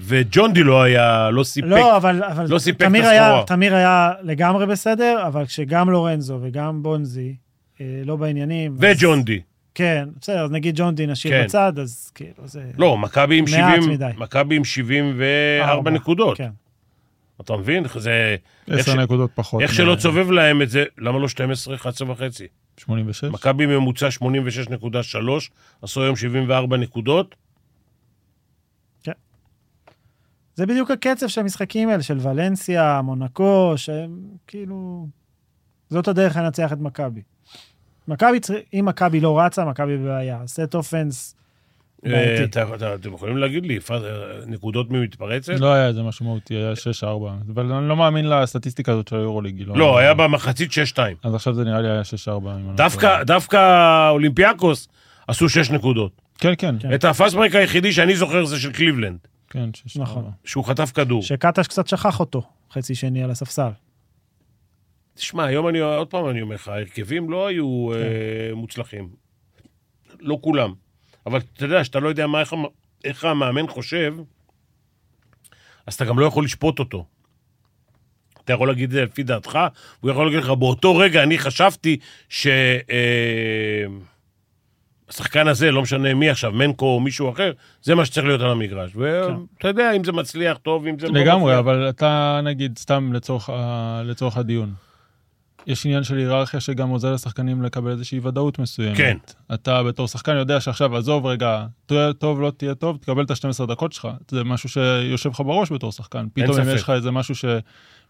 Speaker 2: וג'ונדי לא היה, לא סיפק.
Speaker 3: לא, אבל, אבל
Speaker 2: לא סיפק את
Speaker 3: תמיר היה-
Speaker 2: הסחורה.
Speaker 3: תמיר היה לגמרי בסדר, אבל כשגם לורנזו וגם בונזי אה, לא בעניינים... אז-
Speaker 2: וג'ונדי.
Speaker 3: כן, בסדר, אז נגיד ג'ון די נשאיר
Speaker 2: כן.
Speaker 3: בצד, אז כאילו זה...
Speaker 2: לא, מכבי עם
Speaker 3: מעט
Speaker 2: 70,
Speaker 3: מדי.
Speaker 2: מכבי עם 74 נקודות.
Speaker 3: כן.
Speaker 2: אתה מבין? זה... איך ש-
Speaker 4: 10 נקודות פחות. כן.
Speaker 2: איך שלא צובב להם את זה, למה לא 12, 11 וחצי?
Speaker 4: 86.
Speaker 2: מכבי ממוצע 86.3, עשו היום 74 נקודות.
Speaker 3: זה בדיוק הקצב של המשחקים האלה, של ולנסיה, מונקו, שהם כאילו... זאת הדרך לנצח את מכבי. מכבי, צר- אם מכבי לא רצה, מכבי בבעיה. סט אופנס
Speaker 2: אה,
Speaker 3: בעייתי.
Speaker 2: אתה- אתה- אתם יכולים להגיד לי, יפעת, אה, נקודות ממתפרצת?
Speaker 4: לא היה איזה משהו מהותי, היה 6-4. אבל אני לא מאמין לסטטיסטיקה הזאת של היורוליג. היא
Speaker 2: לא, היה במחצית 6-2.
Speaker 4: אז עכשיו זה נראה לי היה 6-4. אם אני לא
Speaker 2: דווקא-
Speaker 4: טועה.
Speaker 2: דווקא אולימפיאקוס עשו 6 נקודות.
Speaker 4: כן, כן,
Speaker 3: כן.
Speaker 2: את הפסברק היחידי שאני זוכר זה של קליבלנד,
Speaker 4: כן, 6-4.
Speaker 3: נכון.
Speaker 2: שהוא חטף כדור.
Speaker 3: שקטש קצת שכח אותו, חצי שני על הספסל.
Speaker 2: תשמע, היום אני, עוד פעם אני אומר לך, ההרכבים לא היו אה, מוצלחים. לא כולם. אבל אתה יודע, שאתה לא יודע מה, איך, המ- איך המאמן חושב, אז אתה גם לא יכול לשפוט אותו. אתה יכול להגיד את זה לפי דעתך, הוא יכול להגיד לך, באותו רגע אני חשבתי ש... אה, השחקן הזה, לא משנה מי עכשיו, מנקו או מישהו אחר, זה מה שצריך להיות על המגרש. ואתה יודע, אם זה מצליח, טוב, אם זה... לא
Speaker 4: לגמרי,
Speaker 2: מצליח.
Speaker 4: אבל אתה, נגיד, סתם לצורך ה- לצורך הדיון. יש עניין של היררכיה שגם עוזר לשחקנים לקבל איזושהי ודאות מסוימת.
Speaker 2: כן.
Speaker 4: אתה בתור שחקן יודע שעכשיו, עזוב רגע, תהיה טוב, לא תהיה טוב, תקבל את ה-12 דקות שלך. זה משהו שיושב לך בראש בתור שחקן. פתאום אם
Speaker 2: ספק.
Speaker 4: יש לך איזה משהו ש...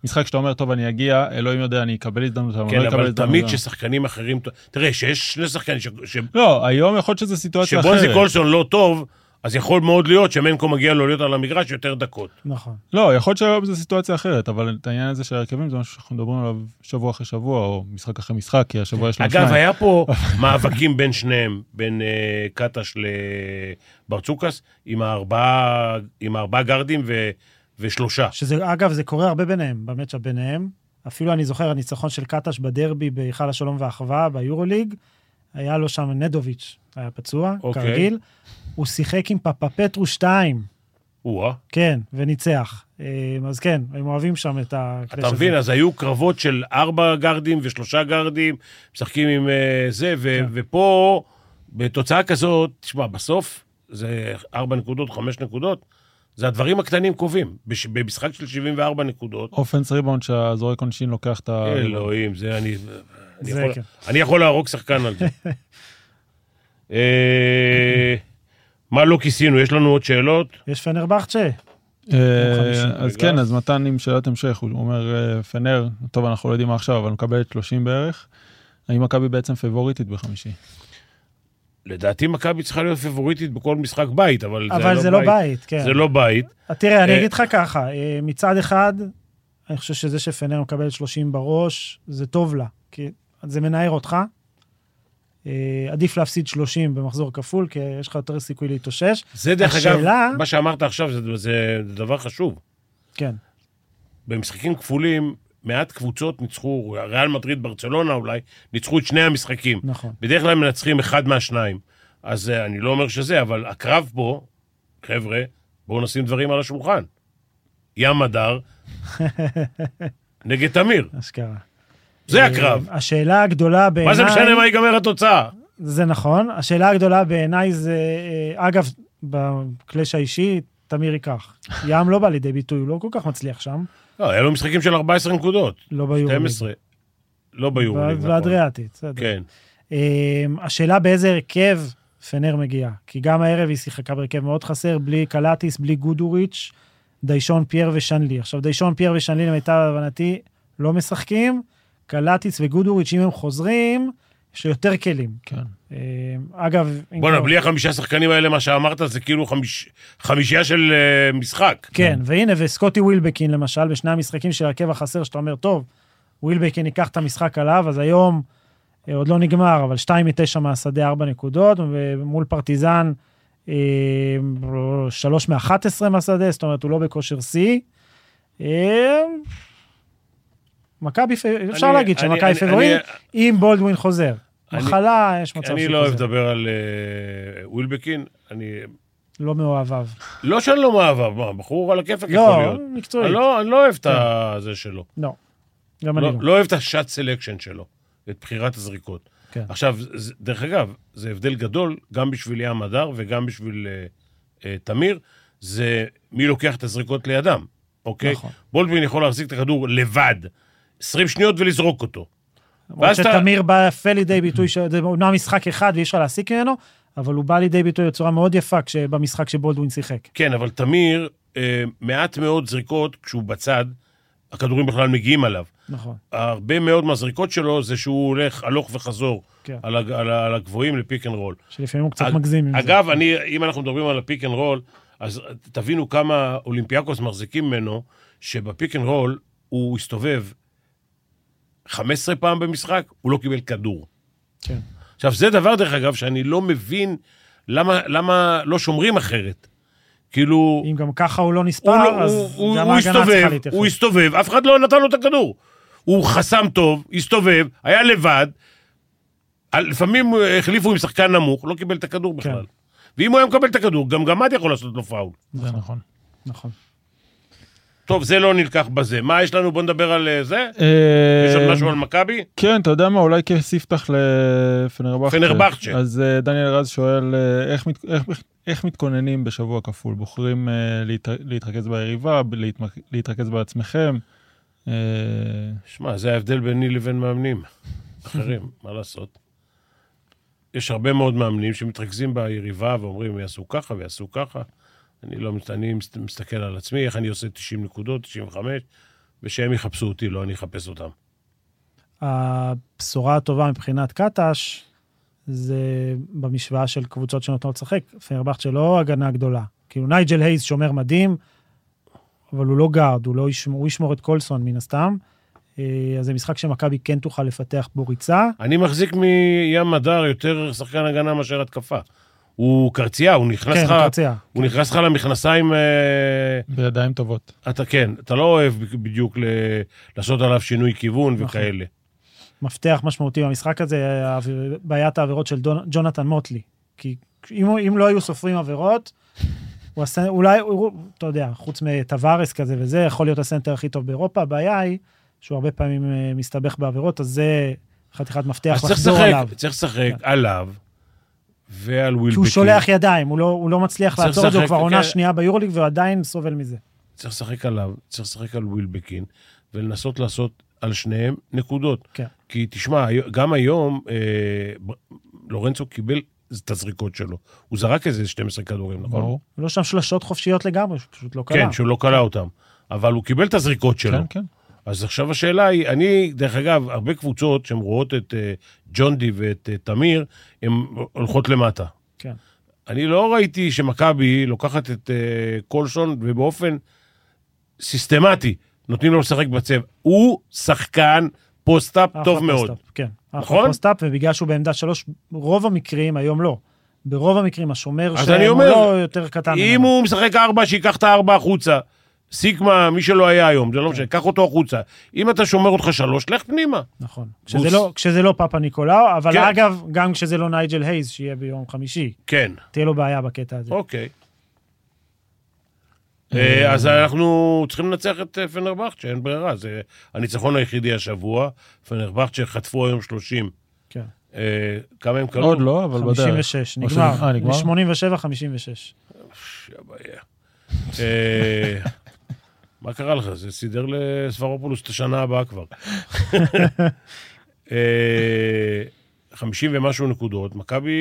Speaker 4: משחק שאתה אומר, טוב, אני אגיע, אלוהים יודע, אני אקבל הזדמנות, אני
Speaker 2: כן,
Speaker 4: לא אקבל
Speaker 2: אבל תמיד
Speaker 4: הזדמנות.
Speaker 2: כששחקנים אחרים... תראה, שיש שני שחקנים ש... ש...
Speaker 4: לא, היום יכול להיות שזו סיטואציה אחרת.
Speaker 2: שבונזי קולסון לא טוב, אז יכול מאוד להיות שמנקו מגיע לו להיות על המגרש יותר דקות.
Speaker 3: נכון.
Speaker 4: לא, יכול להיות שהיום זו סיטואציה אחרת, אבל את העניין הזה של ההרכבים זה משהו שאנחנו מדברים עליו שבוע אחרי שבוע, או משחק אחרי משחק, כי השבוע יש לנו שניים.
Speaker 2: אגב, היה
Speaker 4: *laughs*
Speaker 2: פה מאבקים בין שניהם, בין אה, קטש לברצוקס, עם הארבעה עם הארבעה גארדים ו... ושלושה.
Speaker 3: שזה, אגב, זה קורה הרבה ביניהם, במצ'אפ ביניהם. אפילו אני זוכר הניצחון של קטש בדרבי בהיכל השלום והאחווה, ביורוליג. היה לו שם נדוביץ', היה פצוע,
Speaker 2: אוקיי.
Speaker 3: כרגיל. הוא שיחק עם פפפטרו 2,
Speaker 2: או-אה.
Speaker 3: כן, וניצח. אה, אז כן, הם אוהבים שם את הקלאש
Speaker 2: אתה מבין, אז היו קרבות של ארבע גארדים ושלושה גארדים, משחקים עם אה, זה, ו-
Speaker 3: כן.
Speaker 2: ופה, בתוצאה כזאת, תשמע, בסוף זה ארבע נקודות, חמש נקודות, זה הדברים הקטנים קובעים. בש- במשחק של 74 נקודות,
Speaker 4: אופנס ריבאונד שהזורק עונשין לוקח את
Speaker 2: אה,
Speaker 4: ה...
Speaker 2: אלוהים, זה אני... אני
Speaker 3: אה, לא- זה
Speaker 2: יכול-
Speaker 3: כן.
Speaker 2: אני יכול להרוג שחקן
Speaker 3: *laughs*
Speaker 2: על זה. אה, מה לא כיסינו? יש לנו עוד שאלות?
Speaker 3: יש פנרבכצ'ה.
Speaker 4: אה,
Speaker 3: יום חמישי.
Speaker 4: אז כן, אז מתן עם שאלת המשך, הוא אומר, אה, פנר, טוב, אנחנו לא יודעים מה עכשיו, אבל מקבלת 30 בערך. האם מכבי בעצם פבוריטית בחמישי?
Speaker 2: לדעתי מכבי צריכה להיות פיבוריטית בכל משחק בית, אבל זה לא בית.
Speaker 3: אבל זה לא בית, כן.
Speaker 2: זה לא בית.
Speaker 3: תראה,
Speaker 2: אה,
Speaker 3: אני אגיד לך ככה, אה, מצד אחד, אני חושב שזה שפנר מקבלת 30 בראש, זה טוב לה, כי זה מנער אותך. אה, עדיף להפסיד 30 במחזור כפול, כי יש לך יותר סיכוי להתאושש.
Speaker 2: זה דרך
Speaker 3: השאלה-
Speaker 2: אגב, מה שאמרת עכשיו זה, זה, זה דבר חשוב.
Speaker 3: כן,
Speaker 2: במשחקים כפולים, מעט קבוצות ניצחו, ריאל מדריד, ברצלונה אולי, ניצחו את שני המשחקים.
Speaker 3: נכון.
Speaker 2: בדרך כלל מנצחים אחד מהשניים. אז אה, אני לא אומר שזה, אבל הקרב פה, חבר'ה, בואו נשים דברים על השולחן. ים
Speaker 3: *laughs*
Speaker 2: הדר נגד תמיר,
Speaker 3: אשכרה.
Speaker 2: זה
Speaker 3: אה,
Speaker 2: הקרב.
Speaker 3: השאלה הגדולה בעיניי...
Speaker 2: מה זה משנה מה ייגמר התוצאה?
Speaker 3: זה נכון. השאלה הגדולה בעיניי זה, אה, אגב, בקלאש האישי, תמיר ייקח. ים לא בא לידי ביטוי, הוא לא כל כך מצליח שם,
Speaker 2: לא, היה לו משחקים של 14 נקודות,
Speaker 3: לא ביורוליג.
Speaker 2: 12. לא ביורוליג,
Speaker 3: ב-
Speaker 2: נכון.
Speaker 3: באדריאטית, בסדר.
Speaker 2: כן.
Speaker 3: אמ, השאלה באיזה הרכב פנר מגיעה, כי גם הערב היא שיחקה בהרכב מאוד חסר, בלי קלטיס, בלי גודוריץ', דיישון פייר ושנלי. עכשיו, דיישון פייר ושנלי, למיטב הבנתי, לא משחקים. קלטיס וגודוריץ', אם הם חוזרים, יש לו יותר כלים.
Speaker 4: כן.
Speaker 3: אמ, אגב... אם
Speaker 2: בואנה,
Speaker 3: כבר-
Speaker 2: בלי החמישה שחקנים האלה, מה שאמרת, זה כאילו חמיש... חמישייה של אה, משחק.
Speaker 3: כן, והנה, וסקוטי ווילבקין, למשל, בשני המשחקים של הרכב החסר, שאתה אומר, טוב, ווילבקין ייקח את המשחק עליו, אז היום אה, עוד לא נגמר, אבל 2 מ-9 מהשדה 4 נקודות, ומול פרטיזן אה, 3 מ-11 מהשדה, זאת אומרת, הוא לא בכושר שיא. אה, מכבי, פ- אפשר
Speaker 2: אני-
Speaker 3: להגיד
Speaker 2: אני-
Speaker 3: שמכבי
Speaker 2: אני-
Speaker 3: פבוריט,
Speaker 2: אני-
Speaker 3: אם בולדווין חוזר.
Speaker 2: אני-
Speaker 3: מחלה, יש מצב
Speaker 2: אני
Speaker 3: שהוא
Speaker 2: לא אוהב
Speaker 3: חוזר.
Speaker 2: לדבר על אה, ווילבקין, אני...
Speaker 3: לא מאוהביו.
Speaker 2: לא שאני לא מאהבה, מה, בחור על הכיפק יכול
Speaker 3: לא,
Speaker 2: להיות.
Speaker 3: מקצועית.
Speaker 2: אני לא- אני לא אוהב את הזה שלו.
Speaker 3: לא. גם אני
Speaker 2: לא
Speaker 3: לא.
Speaker 2: לא אוהב את השאט סלקשן שלו, את בחירת הזריקות.
Speaker 3: כן.
Speaker 2: עכשיו, זה- דרך אגב, זה הבדל גדול גם בשביל ים הדר וגם בשביל אה, אה, תמיר, זה מי לוקח את הזריקות לידם, אוקיי?
Speaker 3: נכון.
Speaker 2: בולדווין יכול להחזיק את הכדור לבד, 20 שניות ולזרוק אותו.
Speaker 3: למרות
Speaker 2: ואז אתה-
Speaker 3: שתמיר בא יפה לידי ביטוי, ש- זה אומנם משחק אחד ואי אפשר להסיק ממנו, אבל הוא בא לידי ביטוי בצורה מאוד יפה כש- במשחק שבולדווין שיחק.
Speaker 2: כן, אבל תמיר, אה, מעט מאוד זריקות, כשהוא בצד, הכדורים בכלל מגיעים עליו.
Speaker 3: נכון.
Speaker 2: הרבה מאוד מהזריקות שלו זה שהוא הולך הלוך וחזור
Speaker 3: כן.
Speaker 2: על, הג, על, ה- על הגבוהים לפיק אנד רול.
Speaker 3: שלפעמים הוא קצת
Speaker 2: אג-
Speaker 3: מגזים עם זה.
Speaker 2: אגב, אני, אם אנחנו מדברים על הפיק אנד רול, אז תבינו כמה אולימפיאקוס מחזיקים ממנו, שבפיק אנד רול הוא הסתובב 15 פעם במשחק, הוא לא קיבל כדור.
Speaker 3: כן.
Speaker 2: עכשיו, זה דבר, דרך אגב, שאני לא מבין למה, למה לא שומרים אחרת. כאילו...
Speaker 3: אם גם ככה הוא לא
Speaker 2: הוא,
Speaker 3: נספר,
Speaker 2: לא,
Speaker 3: אז
Speaker 2: הוא, הוא,
Speaker 3: גם
Speaker 2: הוא
Speaker 3: ההגנה צריכה
Speaker 2: הסתובב,
Speaker 3: להתייחס.
Speaker 2: הוא הסתובב, אף אחד לא נתן לו את הכדור. הוא חסם טוב, הסתובב, היה לבד, על- לפעמים אה, החליפו עם שחקן נמוך, לא קיבל את הכדור בכלל.
Speaker 3: כן.
Speaker 2: ואם הוא היה מקבל את הכדור, גם גמד יכול לעשות לו פאול.
Speaker 4: זה נכון.
Speaker 3: נכון.
Speaker 2: טוב, זה לא נלקח בזה. מה יש לנו? בוא נדבר על אה, זה? יש
Speaker 4: אה,
Speaker 2: עוד משהו על מכבי?
Speaker 4: כן, אתה יודע מה, אולי כספתח לפנרבחצ'ה.
Speaker 2: פנרבחצ'ה.
Speaker 4: אז אה, דניאל רז שואל, אה, איך מת- איך- איך- איך מתכוננים בשבוע כפול? בוחרים אה, להת- להתרכז ביריבה, ב- להתמק- להתרכז בעצמכם? אה,
Speaker 2: שמע, זה ההבדל ביני לבין מאמנים *laughs* אחרים, מה לעשות? יש הרבה מאוד מאמנים שמתרכזים ביריבה ואומרים, יעשו ככה ויעשו ככה. אני לא, מת- אני מס- מסתכל על עצמי, איך אני עושה 90 נקודות, 95, ושהם יחפשו אותי, לא אני אחפש אותם.
Speaker 3: הבשורה הטובה מבחינת קטש, זה במשוואה של קבוצות שנותנות לשחק. פנרבכט שלא הגנה גדולה. כאילו נייג'ל הייז שומר מדהים, אבל הוא לא גארד, הוא, לא ישמור, הוא ישמור את קולסון מן הסתם. אה, אז זה משחק שמכבי כן תוכל לפתח בו ריצה.
Speaker 2: אני מחזיק מים הדר יותר שחקן הגנה מאשר התקפה. הוא קרצייה, הוא נכנס
Speaker 3: כן,
Speaker 2: לך...
Speaker 3: קרצייה.
Speaker 2: הוא נכנס לך למכנסיים, אה,
Speaker 4: בידיים טובות.
Speaker 2: אתה כן, אתה לא אוהב בדיוק ל- לעשות עליו שינוי כיוון
Speaker 3: נכון.
Speaker 2: וכאלה.
Speaker 3: מפתח משמעותי במשחק הזה, האוויר- בעיית העבירות של דונ- ג'ונתן מוטלי. כי אם, הוא- אם לא היו סופרים עבירות, הוא הסנ... אולי, הוא, אתה יודע, חוץ מטווארס כזה וזה, יכול להיות הסנטר הכי טוב באירופה, הבעיה היא שהוא הרבה פעמים אה, מסתבך בעבירות, אז זה חתיכת מפתח
Speaker 2: אז צריך
Speaker 3: לחזור
Speaker 2: לשחק,
Speaker 3: עליו.
Speaker 2: צריך לשחק עליו ועל
Speaker 3: כי
Speaker 2: ווילבקין.
Speaker 3: הוא שולח ידיים, הוא לא, הוא לא מצליח
Speaker 2: צריך
Speaker 3: לעצור את זה, הוא
Speaker 2: לשחק,
Speaker 3: כבר עונה
Speaker 2: כן.
Speaker 3: שנייה ביורוליג והוא עדיין סובל מזה.
Speaker 2: צריך לשחק עליו, צריך לשחק על ווילבקין, ולנסות לעשות על שניהם נקודות.
Speaker 3: כן.
Speaker 2: כי תשמע, הי- גם היום אה, ב- לורנצו קיבל את הזריקות שלו. הוא זרק איזה 12 כדורים, נכון?
Speaker 4: ברור.
Speaker 3: הוא לא שם שלשות חופשיות לגמרי, הוא פשוט לא קלע.
Speaker 2: כן, שהוא לא כלא אותם. אבל הוא קיבל את הזריקות שלו.
Speaker 4: כן, כן.
Speaker 2: אז עכשיו השאלה היא, אני, דרך אגב, הרבה קבוצות שהן רואות את אה, ג'ונדי ואת אה, תמיר, הן הולכות למטה.
Speaker 3: כן.
Speaker 2: אני לא ראיתי שמכבי לוקחת את אה, קולסון ובאופן סיסטמטי נותנים לו לשחק בצבע. הוא שחקן פוסט-אפ
Speaker 3: אחלה
Speaker 2: טוב מאוד.
Speaker 3: פוסט-אפ, כן,
Speaker 2: נכון?
Speaker 3: אחלה פוסט-אפ, ובגלל שהוא בעמדה שלוש, רוב המקרים, היום לא. ברוב המקרים השומר
Speaker 2: אז
Speaker 3: שלהם
Speaker 2: אני
Speaker 3: הוא
Speaker 2: אומר,
Speaker 3: לא יותר קטן
Speaker 2: אם הוא משחק ארבע, שייקח את הארבע החוצה. סיקמה, מי שלא היה היום, זה לא משנה, קח אותו החוצה. אם אתה שומר אותך שלוש, לך פנימה.
Speaker 3: נכון.
Speaker 2: בוס.
Speaker 3: כשזה לא, כשזה לא פאפה ניקולאו, אבל
Speaker 2: כן.
Speaker 3: אגב, גם כשזה לא נייג'ל הייז, שיהיה ביום חמישי,
Speaker 2: כן,
Speaker 3: תהיה לו בעיה בקטע הזה.
Speaker 2: אוקיי. אה, אז אנחנו צריכים לנצח את אה, פנרבכצ'ה, אין ברירה. זה הניצחון היחידי השבוע. פנרבכצ'ה חטפו היום 30.
Speaker 3: כן.
Speaker 2: אה, כמה הם קלעו?
Speaker 4: עוד לא, אבל בדרך.
Speaker 3: 56,
Speaker 4: או
Speaker 3: נגמר.
Speaker 4: שנ- אה, נגמר?
Speaker 3: 87, 56.
Speaker 2: שהבעיה. אה, מה קרה לך? זה סידר לסברופולוס את השנה הבאה כבר. אה, 50 ומשהו נקודות, מכבי,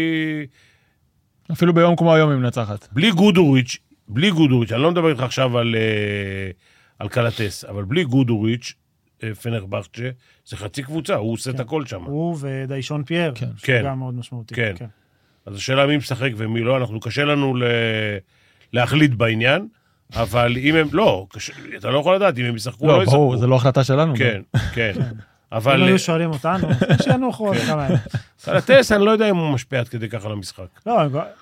Speaker 4: אפילו ביום כמו היום היא מנצחת.
Speaker 2: בלי גודוריץ', בלי גודוריץ', אני לא מדבר איתך עכשיו על, אה, על קלטס, אבל בלי גודוריץ', אה, פנרבכצ'ה, זה חצי קבוצה, הוא עושה את הכל שם.
Speaker 3: הוא ודיישון פייר,
Speaker 4: כן.
Speaker 3: שהוא
Speaker 2: כן.
Speaker 3: גם מאוד משמעותי.
Speaker 2: כן. אז השאלה מי משחק ומי לא, אנחנו, קשה לנו ל... להחליט בעניין, אבל אם הם, לא, קשה, אתה לא יכול לדעת אם הם ישחקו או לא
Speaker 4: לא,
Speaker 2: ישחקו.
Speaker 4: ברור, זה לא החלטה שלנו.
Speaker 2: כן, כן. אבל... כן.
Speaker 3: אם היו שואלים אותנו, שינוח עוד כמה ימים.
Speaker 2: חלטס, אני לא יודע אם הוא משפיע עד כדי כך על המשחק.
Speaker 3: לא,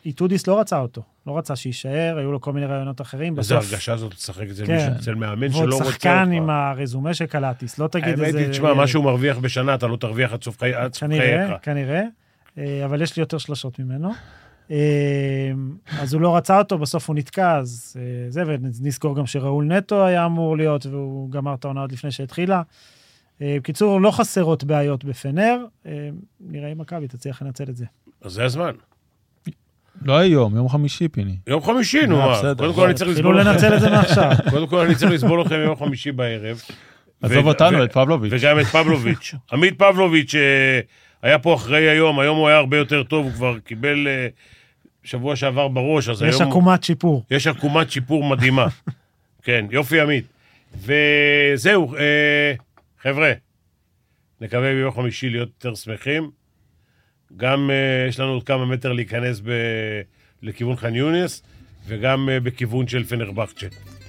Speaker 3: איתודיס לא רצה אותו. לא רצה שיישאר, היו לו כל מיני רעיונות אחרים.
Speaker 2: איזה
Speaker 3: בסוף,
Speaker 2: הרגשה זאת לשחק אצל
Speaker 3: כן.
Speaker 2: מישהו, אצל מאמן שלא
Speaker 3: ועוד
Speaker 2: רוצה אותך.
Speaker 3: שחקן עם הרזומה של קלטיס, לא תגיד איזה...
Speaker 2: האמת היא, תשמע, מה שהוא מרוויח בשנה, אתה לא תרוויח עד סוף חיי- עד סוף
Speaker 3: כנראה,
Speaker 2: חייך.
Speaker 3: כנראה. אה, אבל יש לי יותר שלשות ממנו. אה, אז הוא לא רצה אותו, בסוף הוא נתקע, אז אה, זה, ונזכור גם שראול נטו היה אמור להיות, והוא גמר את העונה עוד לפני שהתחילה. אה, בקיצור, לא חסרות בעיות בפנר, אה, נראה אם מכבי תצליח לנצל את זה.
Speaker 2: אז זה הזמן.
Speaker 4: לא היום, יום חמישי, פיני.
Speaker 2: יום חמישי, נו
Speaker 4: אה,
Speaker 2: מה.
Speaker 4: בסדר.
Speaker 2: קודם כל אני צריך
Speaker 3: אפילו
Speaker 2: לסבול לכם.
Speaker 3: לנצל את זה
Speaker 2: *laughs*
Speaker 3: מעכשיו.
Speaker 2: קודם כל אני צריך לסבול לכם יום חמישי
Speaker 4: *laughs*
Speaker 2: בערב.
Speaker 4: עזוב
Speaker 2: ו- ו-
Speaker 4: אותנו, את פבלוביץ'.
Speaker 2: וגם את
Speaker 4: *laughs*
Speaker 2: פבלוביץ'. עמית פבלוביץ' אה, היה פה אחרי היום, היום הוא היה הרבה יותר טוב, הוא כבר קיבל אה, שבוע שעבר בראש, אז
Speaker 3: יש
Speaker 2: היום...
Speaker 3: עקומת שיפור.
Speaker 2: יש עקומת שיפור מדהימה. כן, יופי עמית. וזהו, אה, חבר'ה, נקווה ביום חמישי להיות יותר שמחים. גם אה, יש לנו עוד כמה מטר להיכנס ב... לכיוון חאן יונס, וגם אה, בכיוון של פנרבכצ'ה.